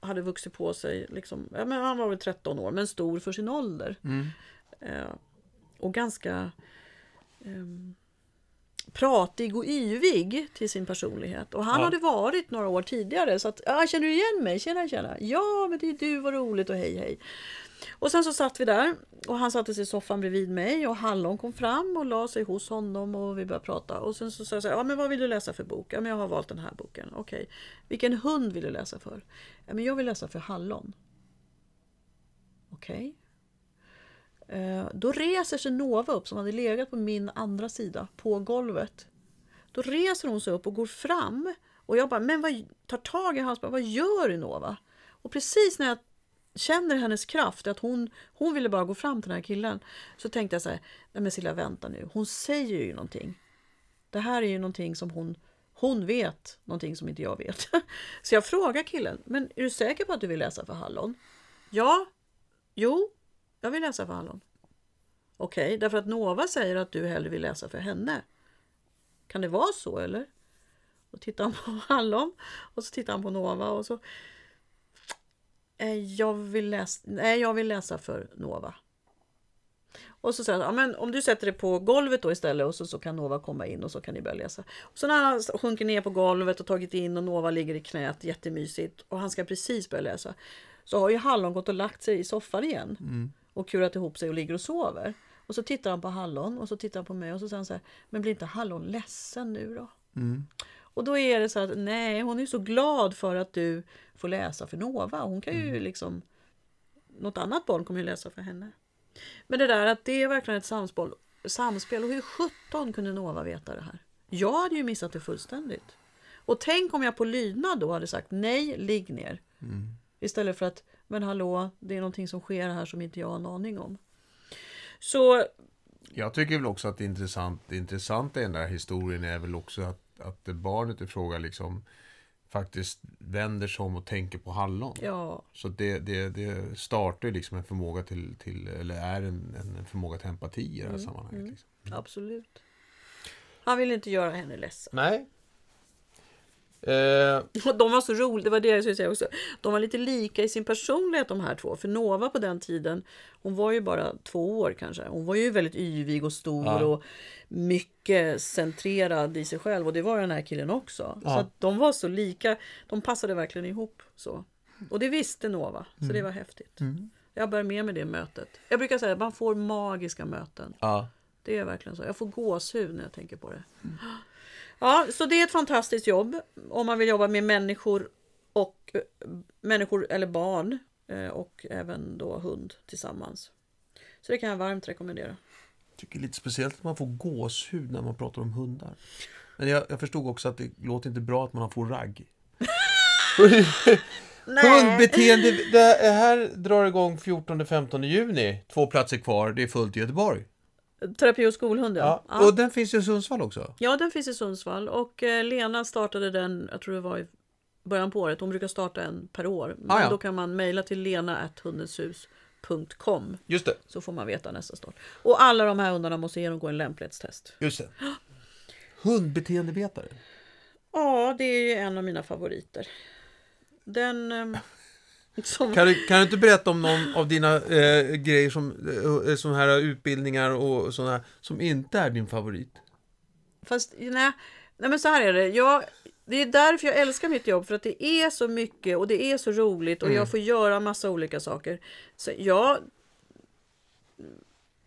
Speaker 1: hade vuxit på sig, liksom, ja, men han var väl 13 år, men stor för sin ålder. Eh, och ganska ehm, pratig och yvig till sin personlighet. Och han
Speaker 2: Ja.
Speaker 1: hade varit några år tidigare så att, ja, känner du igen mig? Tjena, tjena. Ja, men det är du, vad roligt och hej, hej. Och sen så satt vi där och han satte sig i soffan bredvid mig och Hallon kom fram och la sig hos honom och vi började prata. Och sen så sa jag så här, ja men vad vill du läsa för bok? Ja men jag har valt den här boken. Okej, vilken hund vill du läsa för? Ja men jag vill läsa för Hallon. Okej. Eh, Då reser sig Nova upp som hade legat på min andra sida på golvet. Då reser hon sig upp och går fram och jag bara, men vad, tar tag i hans, bara, vad gör du Nova? Och precis när jag känner hennes kraft, att hon, hon ville bara gå fram till den här killen, så tänkte jag så här, nej men Silla vänta nu, hon säger ju någonting. Det här är ju någonting som hon, hon vet, någonting som inte jag vet. Så jag frågar killen, men är du säker på att du vill läsa för Hallon? Ja, jo, jag vill läsa för Hallon. Okej, därför att Nova säger att du hellre vill läsa för henne. Kan det vara så eller? Och tittar han på Hallon och så tittar han på Nova och så... "Eh, Jag vill läsa, nej, jag vill läsa för Nova. Och så säger han, ja, men om du sätter det på golvet då istället och så, så kan Nova komma in och så kan ni börja läsa. Och så när han sjunker ner på golvet och tagit in och Nova ligger i knät jättemysigt och han ska precis börja läsa. Så har ju Hallon gått och lagt sig i soffan igen och kurat ihop sig och ligger och sover. Och så tittar han på Hallon och så tittar han på mig och så säger han så här, men blir inte Hallon ledsen nu då? Och då är det så att nej, hon är ju så glad för att du får läsa för Nova. Hon kan ju liksom något annat barn kommer ju läsa för henne. Men det där att det är verkligen ett samspel, samspel och hur sjutton kunde Nova veta det här? Jag hade ju missat det fullständigt. Och tänk om jag på lydnad då hade sagt nej, ligg ner. Istället för att, men hallå, det är någonting som sker här som inte jag har en aning om. Så
Speaker 2: Jag tycker väl också att det intressant, det intressanta i den där historien är väl också att, att barnet i fråga liksom faktiskt vänder sig om och tänker på hallon.
Speaker 1: Ja,
Speaker 2: Så det, det, det startar ju liksom en förmåga till, till eller är en, en förmåga till empati i det här
Speaker 1: Mm,
Speaker 2: sammanhanget. Liksom.
Speaker 1: absolut. Han ville inte göra henne ledsen.
Speaker 2: Nej. Eh,
Speaker 1: Och De var så roliga, det var det jag skulle säga också. De var lite lika i sin personlighet de här två. För Nova på den tiden, hon var ju bara två år kanske. Hon var ju väldigt yvig och stor
Speaker 2: Ja.
Speaker 1: och mycket centrerad i sig själv. Och det var ju den här killen också. Så
Speaker 2: Ja.
Speaker 1: att de var så lika, de passade verkligen ihop. så. Och det visste Nova, så
Speaker 2: Mm.
Speaker 1: det var häftigt. Jag bär med mig det mötet. Jag brukar säga att man får magiska möten.
Speaker 2: ja.
Speaker 1: Det är verkligen så. Jag får gåshud när jag tänker på det.
Speaker 2: Mm.
Speaker 1: Ja, så det är ett fantastiskt jobb om man vill jobba med människor och eh, människor eller barn eh, och även då hund tillsammans. Så det kan jag varmt rekommendera.
Speaker 2: tycker det är lite speciellt att man får gåshud när man pratar om hundar. Men jag, jag förstod också att det låter inte bra att man får ragg. Hundbeteende, det här drar igång 14-15 juni. Två platser kvar, det är fullt i Göteborg.
Speaker 1: Terapi och skolhund ja.
Speaker 2: Ja.
Speaker 1: ja.
Speaker 2: Och den finns ju i Sundsvall också.
Speaker 1: Ja, den finns i Sundsvall och eh, Lena startade den, jag tror det var i början på året. Hon brukar starta en per år. Men
Speaker 2: Ah, ja.
Speaker 1: då kan man mejla till lena.hundenshus.com
Speaker 2: Just det.
Speaker 1: så får man veta nästa start. Och alla de här hundarna måste genomgå en lämplighetstest.
Speaker 2: Just det. Hundbeteendevetare.
Speaker 1: Ja, det är ju en av mina favoriter. Den ehm, som...
Speaker 2: Kan du, kan du inte berätta om någon av dina eh, grejer som eh, såna här utbildningar och sådana här, som inte är din favorit?
Speaker 1: Fast nej, nej, men så här är det. Jag, det är därför jag älskar mitt jobb, för att det är så mycket och det är så roligt och jag får göra massa olika saker. Så jag...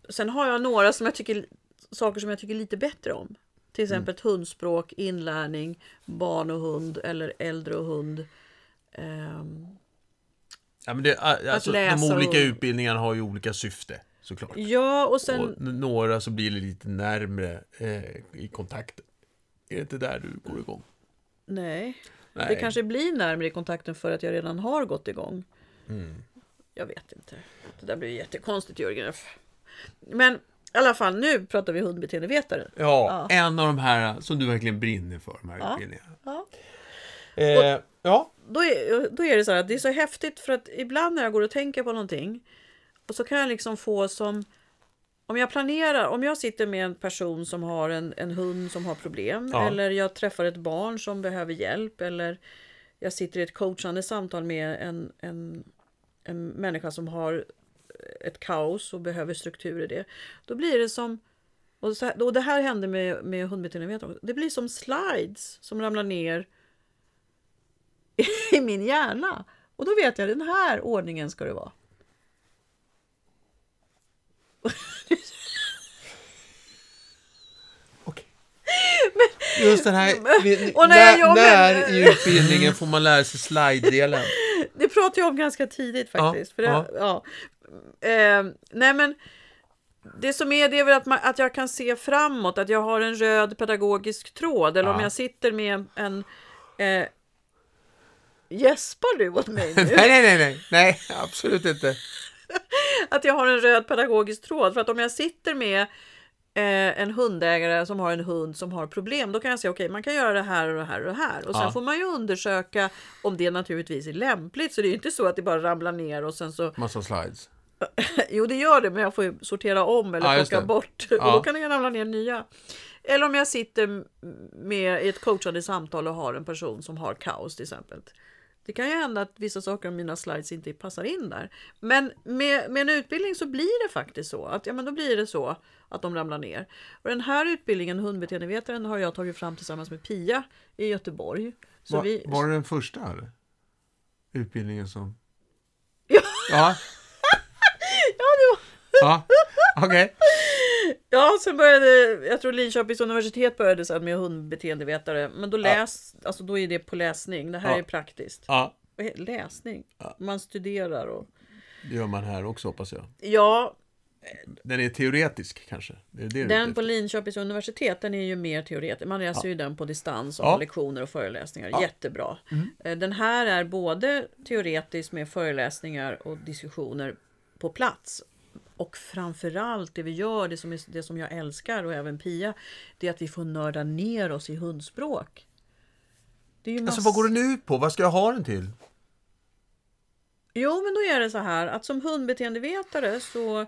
Speaker 1: Sen har jag några som jag tycker, saker som jag tycker lite bättre om. Till exempel ett hundspråk, inlärning, barn och hund eller äldre och hund. Ehm,
Speaker 2: Ja, men det, alltså, de
Speaker 1: läsa
Speaker 2: olika
Speaker 1: och-
Speaker 2: utbildningarna har ju olika syfte såklart.
Speaker 1: ja, och sen...
Speaker 2: Och n- några så blir det lite närmre eh, i kontakten. Är det inte där du går igång?
Speaker 1: Nej.
Speaker 2: Nej.
Speaker 1: Det kanske blir närmare i kontakten för att jag redan har gått igång.
Speaker 2: Mm.
Speaker 1: Jag vet inte. Det där blir ju jättekonstigt Jörgen. Men i alla fall nu pratar vi hundbeteendevetare.
Speaker 2: Ja, en av de här eh, som du verkligen brinner för, de här utbildningarna.
Speaker 1: Ja.
Speaker 2: Eh, ja,
Speaker 1: Då, är, då är det så här att det är så häftigt för att ibland när jag går och tänker på någonting och så kan jag liksom få som om jag planerar, om jag sitter med en person som har en, en hund som har problem
Speaker 2: Ja.
Speaker 1: eller jag träffar ett barn som behöver hjälp eller jag sitter i ett coachande samtal med en, en, en människa som har ett kaos och behöver struktur i det. Då blir det som, och, så här, och det här hände med, med hundbeteendevetare också, det blir som slides som ramlar ner i min hjärna. Och då vet jag, den här ordningen ska det vara.
Speaker 2: okej. Just den här, vi-
Speaker 1: Och när jag
Speaker 2: när,
Speaker 1: jobbar-
Speaker 2: när i utbildningen får man lära sig slide-delen?
Speaker 1: Det pratade jag om ganska tidigt faktiskt. för
Speaker 2: Ja,
Speaker 1: det, ja. Eh, nej men det som är det är väl att, man, att jag kan se framåt, att jag har en röd pedagogisk tråd. Eller om
Speaker 2: Ja.
Speaker 1: jag sitter med en... Eh, gäspar du åt mig nu?
Speaker 2: Nej, nej, nej, nej, nej, absolut inte.
Speaker 1: att jag har en röd pedagogisk tråd. För att om jag sitter med eh, en hundägare som har en hund som har problem, då kan jag säga okej, man kan göra det här och det här och det här. Och sen
Speaker 2: Ja.
Speaker 1: får man ju undersöka om det naturligtvis är lämpligt. Så det är ju inte så att det bara ramlar ner och sen så...
Speaker 2: Massa slides.
Speaker 1: Jo, det gör det, men jag får ju sortera om eller
Speaker 2: Ja, just
Speaker 1: plocka
Speaker 2: det.
Speaker 1: bort. Och
Speaker 2: Ja.
Speaker 1: då kan det ramla ner nya. Eller om jag sitter med i ett coachande samtal och har en person som har kaos till exempel. Det kan ju hända att vissa saker om mina slides inte passar in där. Men med, med en utbildning så blir det faktiskt så att ja, men då blir det så att de ramlar ner. Och den här utbildningen, hundbeteendevetaren, har jag tagit fram tillsammans med Pia i Göteborg. Så
Speaker 2: Va,
Speaker 1: vi,
Speaker 2: Var det den första eller? utbildningen som...
Speaker 1: Ja. ja,
Speaker 2: Ja,
Speaker 1: det var...
Speaker 2: ja. okej.
Speaker 1: Ja, sen började, jag tror Linköpings universitet började sen med hundbeteendevetare. Men då läs, alltså då är det på läsning. Det här
Speaker 2: Ja.
Speaker 1: är praktiskt.
Speaker 2: Ja,
Speaker 1: Vad heter- Läsning? Man studerar och...
Speaker 2: det gör man här också hoppas jag.
Speaker 1: Ja,
Speaker 2: Den är teoretisk kanske? Det är det du är ute
Speaker 1: den
Speaker 2: efter.
Speaker 1: på Linköpings universitet den är ju mer teoretisk. Man läser ju den på distans och
Speaker 2: Ja. Mm.
Speaker 1: har lektioner och föreläsningar. Jättebra. Eh, Den här är både teoretisk med föreläsningar och diskussioner på plats. Och framförallt det vi gör, det som, är, det som jag älskar och även Pia, det är att vi får nörda ner oss i hundspråk. Det är ju
Speaker 2: Alltså
Speaker 1: mass-
Speaker 2: vad går den ut på? Vad ska jag ha den till?
Speaker 1: Jo, men då är det så här att som hundbeteendevetare så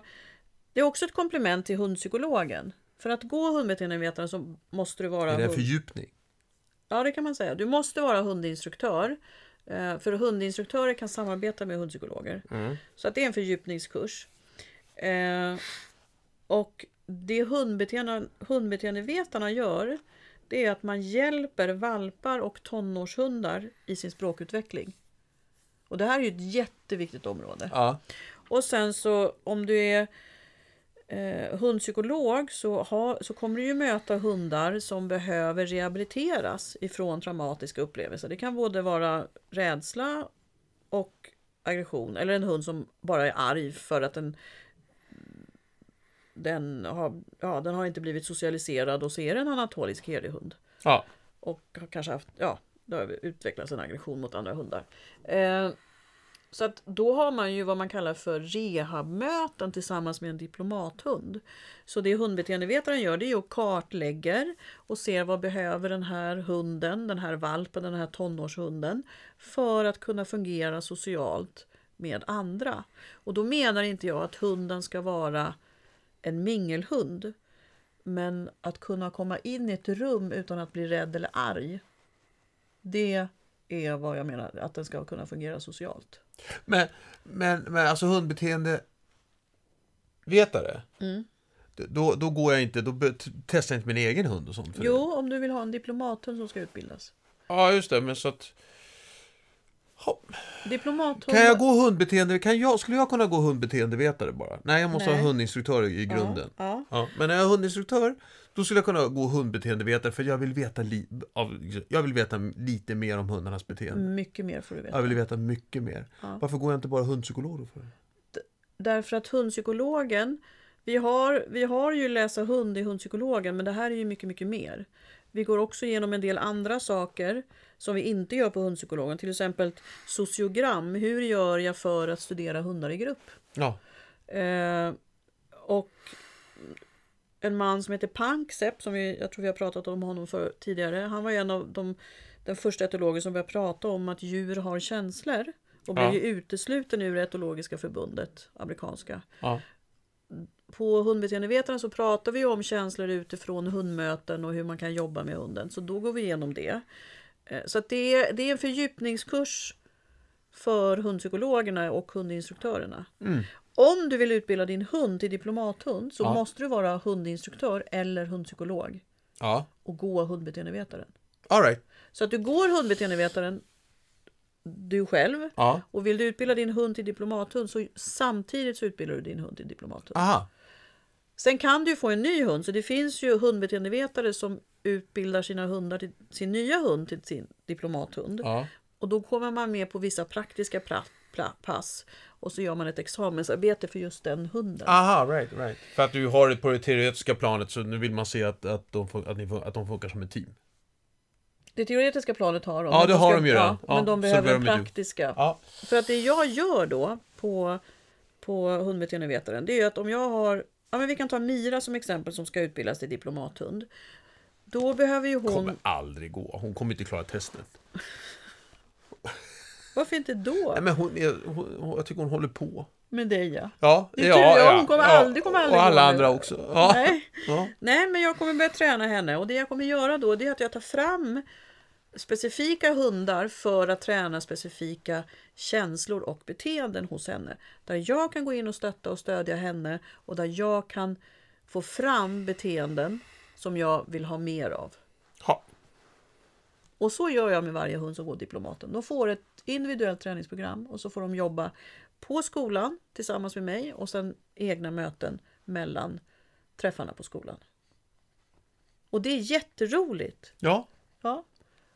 Speaker 1: det är också ett komplement till hundpsykologen. För att gå hundbeteendevetare så måste du vara
Speaker 2: Är det en
Speaker 1: hund-
Speaker 2: fördjupning?
Speaker 1: Ja, det kan man säga. Du måste vara hundinstruktör. eh, För hundinstruktörer kan samarbeta med hundpsykologer. Så att det är en fördjupningskurs. Eh, Och det hundbeteende, hundbeteendevetarna gör det är att man hjälper valpar och tonårshundar i sin språkutveckling. Och det här är ju ett jätteviktigt område.
Speaker 2: Ja.
Speaker 1: Och sen så om du är eh, hundpsykolog så, ha, så kommer du ju möta hundar som behöver rehabiliteras ifrån traumatiska upplevelser. Det kan både vara rädsla och aggression eller en hund som bara är arg för att den den har, ja, den har inte blivit socialiserad och så är det en anatolisk herdehund
Speaker 2: ja.
Speaker 1: och har kanske haft, ja, det har utvecklats en aggression mot andra hundar. Eh, så att då har man ju vad man kallar för rehabmöten tillsammans med en diplomathund. Så det hundbeteendevetaren gör det är ju att kartlägger och ser vad behöver den här hunden, den här valpen, den här tonårshunden för att kunna fungera socialt med andra. Och då menar inte jag att hunden ska vara en mingelhund. Men att kunna komma in i ett rum utan att bli rädd eller arg. Det är vad jag menar, att den ska kunna fungera socialt.
Speaker 2: Men, men, men alltså hundbeteende vetare.
Speaker 1: Mm.
Speaker 2: Då, då går jag inte, då be- t- testar jag inte min egen hund och sånt. för
Speaker 1: Jo,
Speaker 2: det.
Speaker 1: om du vill ha en diplomathund som ska utbildas.
Speaker 2: Ja, just det, men så att... Hopp.
Speaker 1: Diplomathund...
Speaker 2: Kan jag gå hundbeteende? Kan jag, skulle jag kunna gå hundbeteendevetare bara? Nej, jag måste
Speaker 1: Nej.
Speaker 2: ha hundinstruktör i i grunden.
Speaker 1: Ja.
Speaker 2: Ja, men när jag är hundinstruktör, då skulle jag kunna gå hundbeteendevetare för jag vill veta, li, av, jag vill veta lite mer om hundarnas beteende.
Speaker 1: Mycket mer får du veta.
Speaker 2: Jag vill veta mycket mer. Varför går jag inte bara hundpsykolog då? För?
Speaker 1: Därför att hundpsykologen, vi har, vi har ju läsa hund i hundpsykologen men det här är ju mycket, mycket mer. Vi går också igenom en del andra saker som vi inte gör på hundpsykologen. Till exempel sociogram, hur gör jag för att studera hundar i grupp?
Speaker 2: Ja.
Speaker 1: Eh, och en man som heter Panksepp, som vi, jag tror vi har pratat om honom för tidigare. Han var ju en av de, den första etologen som började prata om att djur har känslor. Och blev
Speaker 2: Ja.
Speaker 1: ju utesluten ur etologiska förbundet, amerikanska.
Speaker 2: ja.
Speaker 1: På hundbeteendevetarna så pratar vi ju om känslor utifrån hundmöten och hur man kan jobba med hunden. Så då går vi igenom det. Eh, Så att det, är, det är en fördjupningskurs för hundpsykologerna och hundinstruktörerna. Om du vill utbilda din hund till diplomathund så måste du vara hundinstruktör eller hundpsykolog
Speaker 2: Ja.
Speaker 1: och gå hundbeteendevetaren.
Speaker 2: All right.
Speaker 1: Så att du går hundbeteendevetaren du själv
Speaker 2: Ja.
Speaker 1: och vill du utbilda din hund till diplomathund så samtidigt så utbildar du din hund till diplomathund.
Speaker 2: Aha.
Speaker 1: Sen kan du ju få en ny hund, så det finns ju hundbeteendevetare som utbildar sina hundar till sin nya hund till sin diplomathund.
Speaker 2: Ja.
Speaker 1: Och då kommer man med på vissa praktiska pra, pra, pass och så gör man ett examensarbete för just den hunden.
Speaker 2: Aha, right, right. För att du har det på det teoretiska planet så nu vill man se att, att, de, fun- att, ni, fun- att de funkar som ett team.
Speaker 1: Det teoretiska planet har de.
Speaker 2: Ja,
Speaker 1: men
Speaker 2: det
Speaker 1: de
Speaker 2: har de ju redan. Ja,
Speaker 1: men de
Speaker 2: så
Speaker 1: behöver
Speaker 2: behöver
Speaker 1: den
Speaker 2: de ju.
Speaker 1: praktiska.
Speaker 2: Ja.
Speaker 1: För att det jag gör då på, på hundbeteendevetaren, det är ju att om jag har, ja men vi kan ta Mira som exempel som ska utbildas till diplomathund. Då behöver ju hon,
Speaker 2: Kommer aldrig gå. Hon kommer inte klara testet.
Speaker 1: varför inte då?
Speaker 2: Nej, men hon, är- hon, hon, jag tycker hon håller på.
Speaker 1: Med dig ja.
Speaker 2: Ja,
Speaker 1: Det är tur, ja, hon kommer aldrig- kommer aldrig
Speaker 2: Och alla
Speaker 1: gå.
Speaker 2: andra också. Ja.
Speaker 1: Nej.
Speaker 2: Ja.
Speaker 1: Nej, men jag kommer börja träna henne och det jag kommer göra då det är att jag tar fram specifika hundar för att träna specifika känslor och beteenden hos henne. Där jag kan gå in och stötta och stödja henne och där jag kan få fram beteenden som jag vill ha mer av.
Speaker 2: Ha.
Speaker 1: Och så gör jag med varje hund som går diplomaten. De får ett individuellt träningsprogram och så får de jobba på skolan tillsammans med mig och sen egna möten mellan träffarna på skolan. Och det är jätteroligt.
Speaker 2: Ja.
Speaker 1: Ja.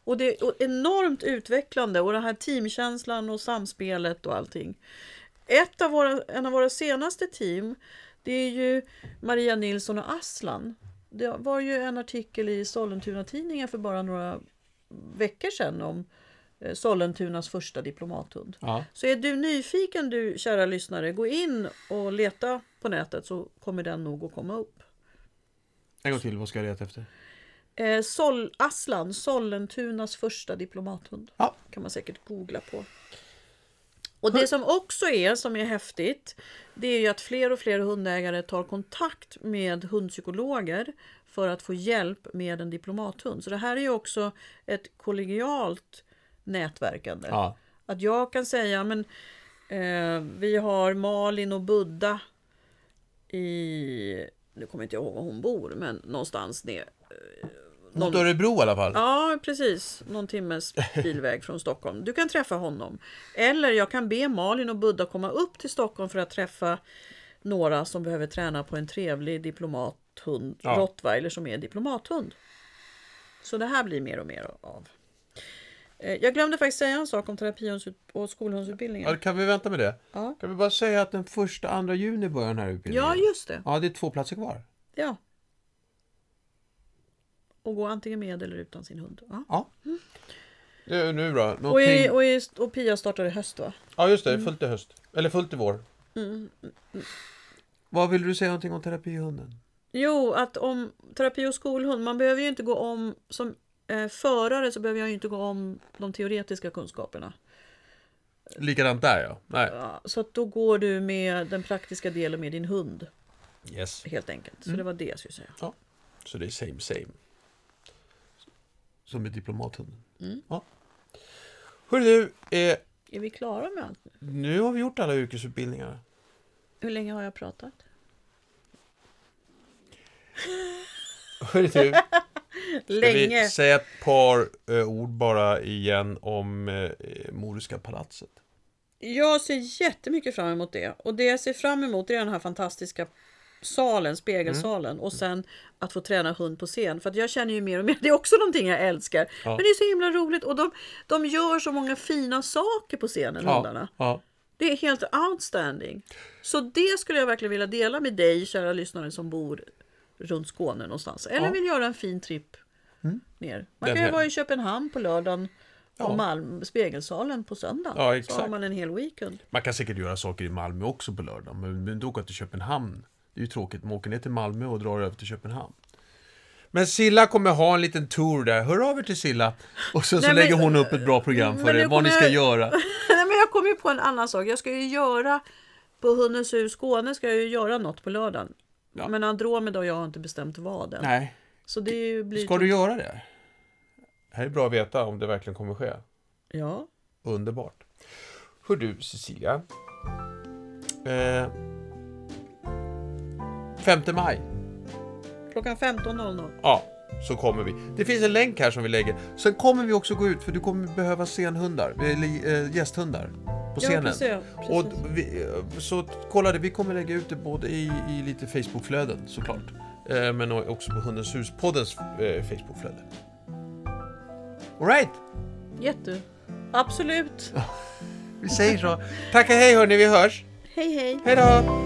Speaker 1: Och det är och enormt utvecklande och den här teamkänslan och samspelet och allting. Ett av våra, en av våra senaste team, det är ju Maria Nilsson och Aslan. Det var ju en artikel i Sollentuna-tidningen för bara några veckor sedan om eh, Sollentunas första diplomathund.
Speaker 2: Ja.
Speaker 1: Så är du nyfiken du kära lyssnare, gå in och leta på nätet så kommer den nog att komma upp.
Speaker 2: En gång till, vad ska jag leta efter?
Speaker 1: Eh, Sol, Aslan, Sollentunas första diplomathund.
Speaker 2: Ja.
Speaker 1: Kan man säkert googla på. Och det som också är, som är häftigt, det är ju att fler och fler hundägare tar kontakt med hundpsykologer för att få hjälp med en diplomathund. Så det här är ju också ett kollegialt nätverkande.
Speaker 2: Ja.
Speaker 1: Att jag kan säga, men eh, vi har Malin och Buddha i, nu kommer inte jag ihåg var hon bor, men någonstans ner.
Speaker 2: Mot Örebro i alla fall.
Speaker 1: Ja, precis. Någon timmes bilväg från Stockholm. Du kan träffa honom. Eller jag kan be Malin och Buddha komma upp till Stockholm för att träffa några som behöver träna på en trevlig diplomathund,
Speaker 2: Ja.
Speaker 1: rottweiler som är diplomathund. Så det här blir mer och mer av. Eh, Jag glömde faktiskt säga en sak om terapi och
Speaker 2: Ja,
Speaker 1: skolhundsutbildningen.
Speaker 2: Kan vi vänta med det?
Speaker 1: Ja.
Speaker 2: Kan vi bara säga att den första, andra juni börjar den här utbildningen?
Speaker 1: Ja, just det.
Speaker 2: Ja, det är två platser kvar.
Speaker 1: Ja. Och gå antingen med eller utan sin hund. Ja.
Speaker 2: Ja. Nu, nu då? Någonting...
Speaker 1: Mm. Och, i, Mm. och, i, och Pia startar i höst va?
Speaker 2: Ja, just det. Fullt i höst. Eller fullt i vår.
Speaker 1: Mm,
Speaker 2: Vad vill du säga någonting om terapihunden?
Speaker 1: Jo, att om terapi och skolhund, man behöver ju inte gå om som eh, förare så behöver jag ju inte gå om de teoretiska kunskaperna.
Speaker 2: Likadant där ja. Nej.
Speaker 1: Ja, så att då går du med den praktiska delen med din hund
Speaker 2: Yes.
Speaker 1: helt enkelt. Så det var det jag skulle säga.
Speaker 2: Ja. Så det är same same. Som med diplomathunden. Ja. Hörru du, eh,
Speaker 1: Är vi klara med allt nu?
Speaker 2: nu har vi gjort alla yrkesutbildningar.
Speaker 1: Hur länge har jag pratat?
Speaker 2: Hörru du,
Speaker 1: Länge!
Speaker 2: ska vi säga ett par eh, ord bara igen om eh, Moriska palatset?
Speaker 1: Jag ser jättemycket fram emot det. Och det jag ser fram emot är den här fantastiska salen, spegelsalen.
Speaker 2: Mm.
Speaker 1: Och sen att få träna hund på scen. För att jag känner ju mer och mer, det är också någonting jag älskar.
Speaker 2: Ja.
Speaker 1: Men det är så himla roligt. Och de, de gör så många fina saker på scenen, hundarna.
Speaker 2: ja.
Speaker 1: Det är helt outstanding. Så det skulle jag verkligen vilja dela med dig, kära lyssnare som bor runt Skåne någonstans. Eller
Speaker 2: Ja. Mm.
Speaker 1: vill göra en fin tripp ner. Man kan
Speaker 2: Den
Speaker 1: ju
Speaker 2: här-
Speaker 1: vara i Köpenhamn på lördagen
Speaker 2: Ja.
Speaker 1: och Malm, Spegelsalen på söndagen.
Speaker 2: Ja,
Speaker 1: så har
Speaker 2: exakt.
Speaker 1: man en hel weekend.
Speaker 2: Man kan säkert göra saker i Malmö också på lördag, men, men då åka till Köpenhamn. Det är ju tråkigt, man åker ner till Malmö och drar över till Köpenhamn. Men Silla kommer ha en liten tour där, hör av er till Silla. Och sen så
Speaker 1: Nej, men-
Speaker 2: lägger hon upp ett bra program för
Speaker 1: Men
Speaker 2: er,
Speaker 1: nu
Speaker 2: vad ni ska
Speaker 1: kommer-
Speaker 2: göra.
Speaker 1: Nej, men jag kom ju på en annan sak. Jag ska ju göra på Hundens hus Skåne ska jag ju göra något på lördagen.
Speaker 2: Ja.
Speaker 1: Men Andromeda och jag har inte bestämt vad än.
Speaker 2: Nej,
Speaker 1: Så det är ju blir...
Speaker 2: ska du göra det? Det här är bra att veta om det verkligen kommer ske.
Speaker 1: Ja.
Speaker 2: Underbart. Hör du, Cecilia. Eh, 5 maj.
Speaker 1: Klockan 15.00.
Speaker 2: Ja, så kommer vi. Det finns en länk här som vi lägger. Sen kommer vi också gå ut, för du kommer behöva scenhundar, eller eh, gästhundar på
Speaker 1: Ja,
Speaker 2: scenen.
Speaker 1: precis, precis.
Speaker 2: Och vi, eh, så kolla det, vi kommer lägga ut det både i, i lite Facebookflöden såklart. Eh, men också på Hundens hus-poddens eh, Facebookflöde. Alright,
Speaker 1: Jätte. Absolut.
Speaker 2: vi säger så. Tack och hej hörni, vi hörs.
Speaker 1: Hej hej.
Speaker 2: Hej då!